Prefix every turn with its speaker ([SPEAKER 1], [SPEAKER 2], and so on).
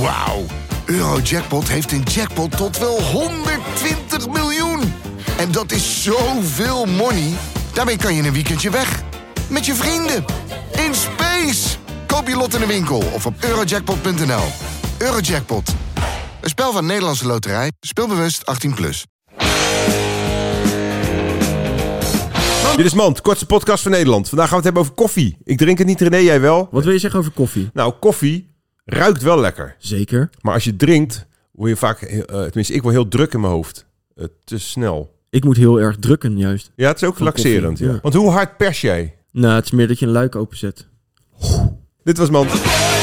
[SPEAKER 1] Wauw. Eurojackpot heeft een jackpot tot wel 120 miljoen. En dat is zoveel money. Daarmee kan je in een weekendje weg. Met je vrienden. In space. Koop je lot in de winkel of op eurojackpot.nl. Eurojackpot. Een spel van Nederlandse Loterij. Speelbewust 18+. Plus.
[SPEAKER 2] Dit is Mand, kortste podcast van Nederland. Vandaag gaan we het hebben over koffie. Ik drink het niet, René, jij wel?
[SPEAKER 3] Wat wil je zeggen over koffie?
[SPEAKER 2] Nou, koffie ruikt wel lekker.
[SPEAKER 3] Zeker.
[SPEAKER 2] Maar als je drinkt, word je vaak... heel- eh, tenminste, ik word heel druk in mijn hoofd. Eh, te snel.
[SPEAKER 3] Ik moet heel erg drukken, juist.
[SPEAKER 2] Ja, het is ook
[SPEAKER 3] koffie,
[SPEAKER 2] laxerend. ja.
[SPEAKER 3] ja.
[SPEAKER 2] Want hoe hard pers jij?
[SPEAKER 3] Nou, het is meer dat je een luik openzet.
[SPEAKER 2] Dit was Mand.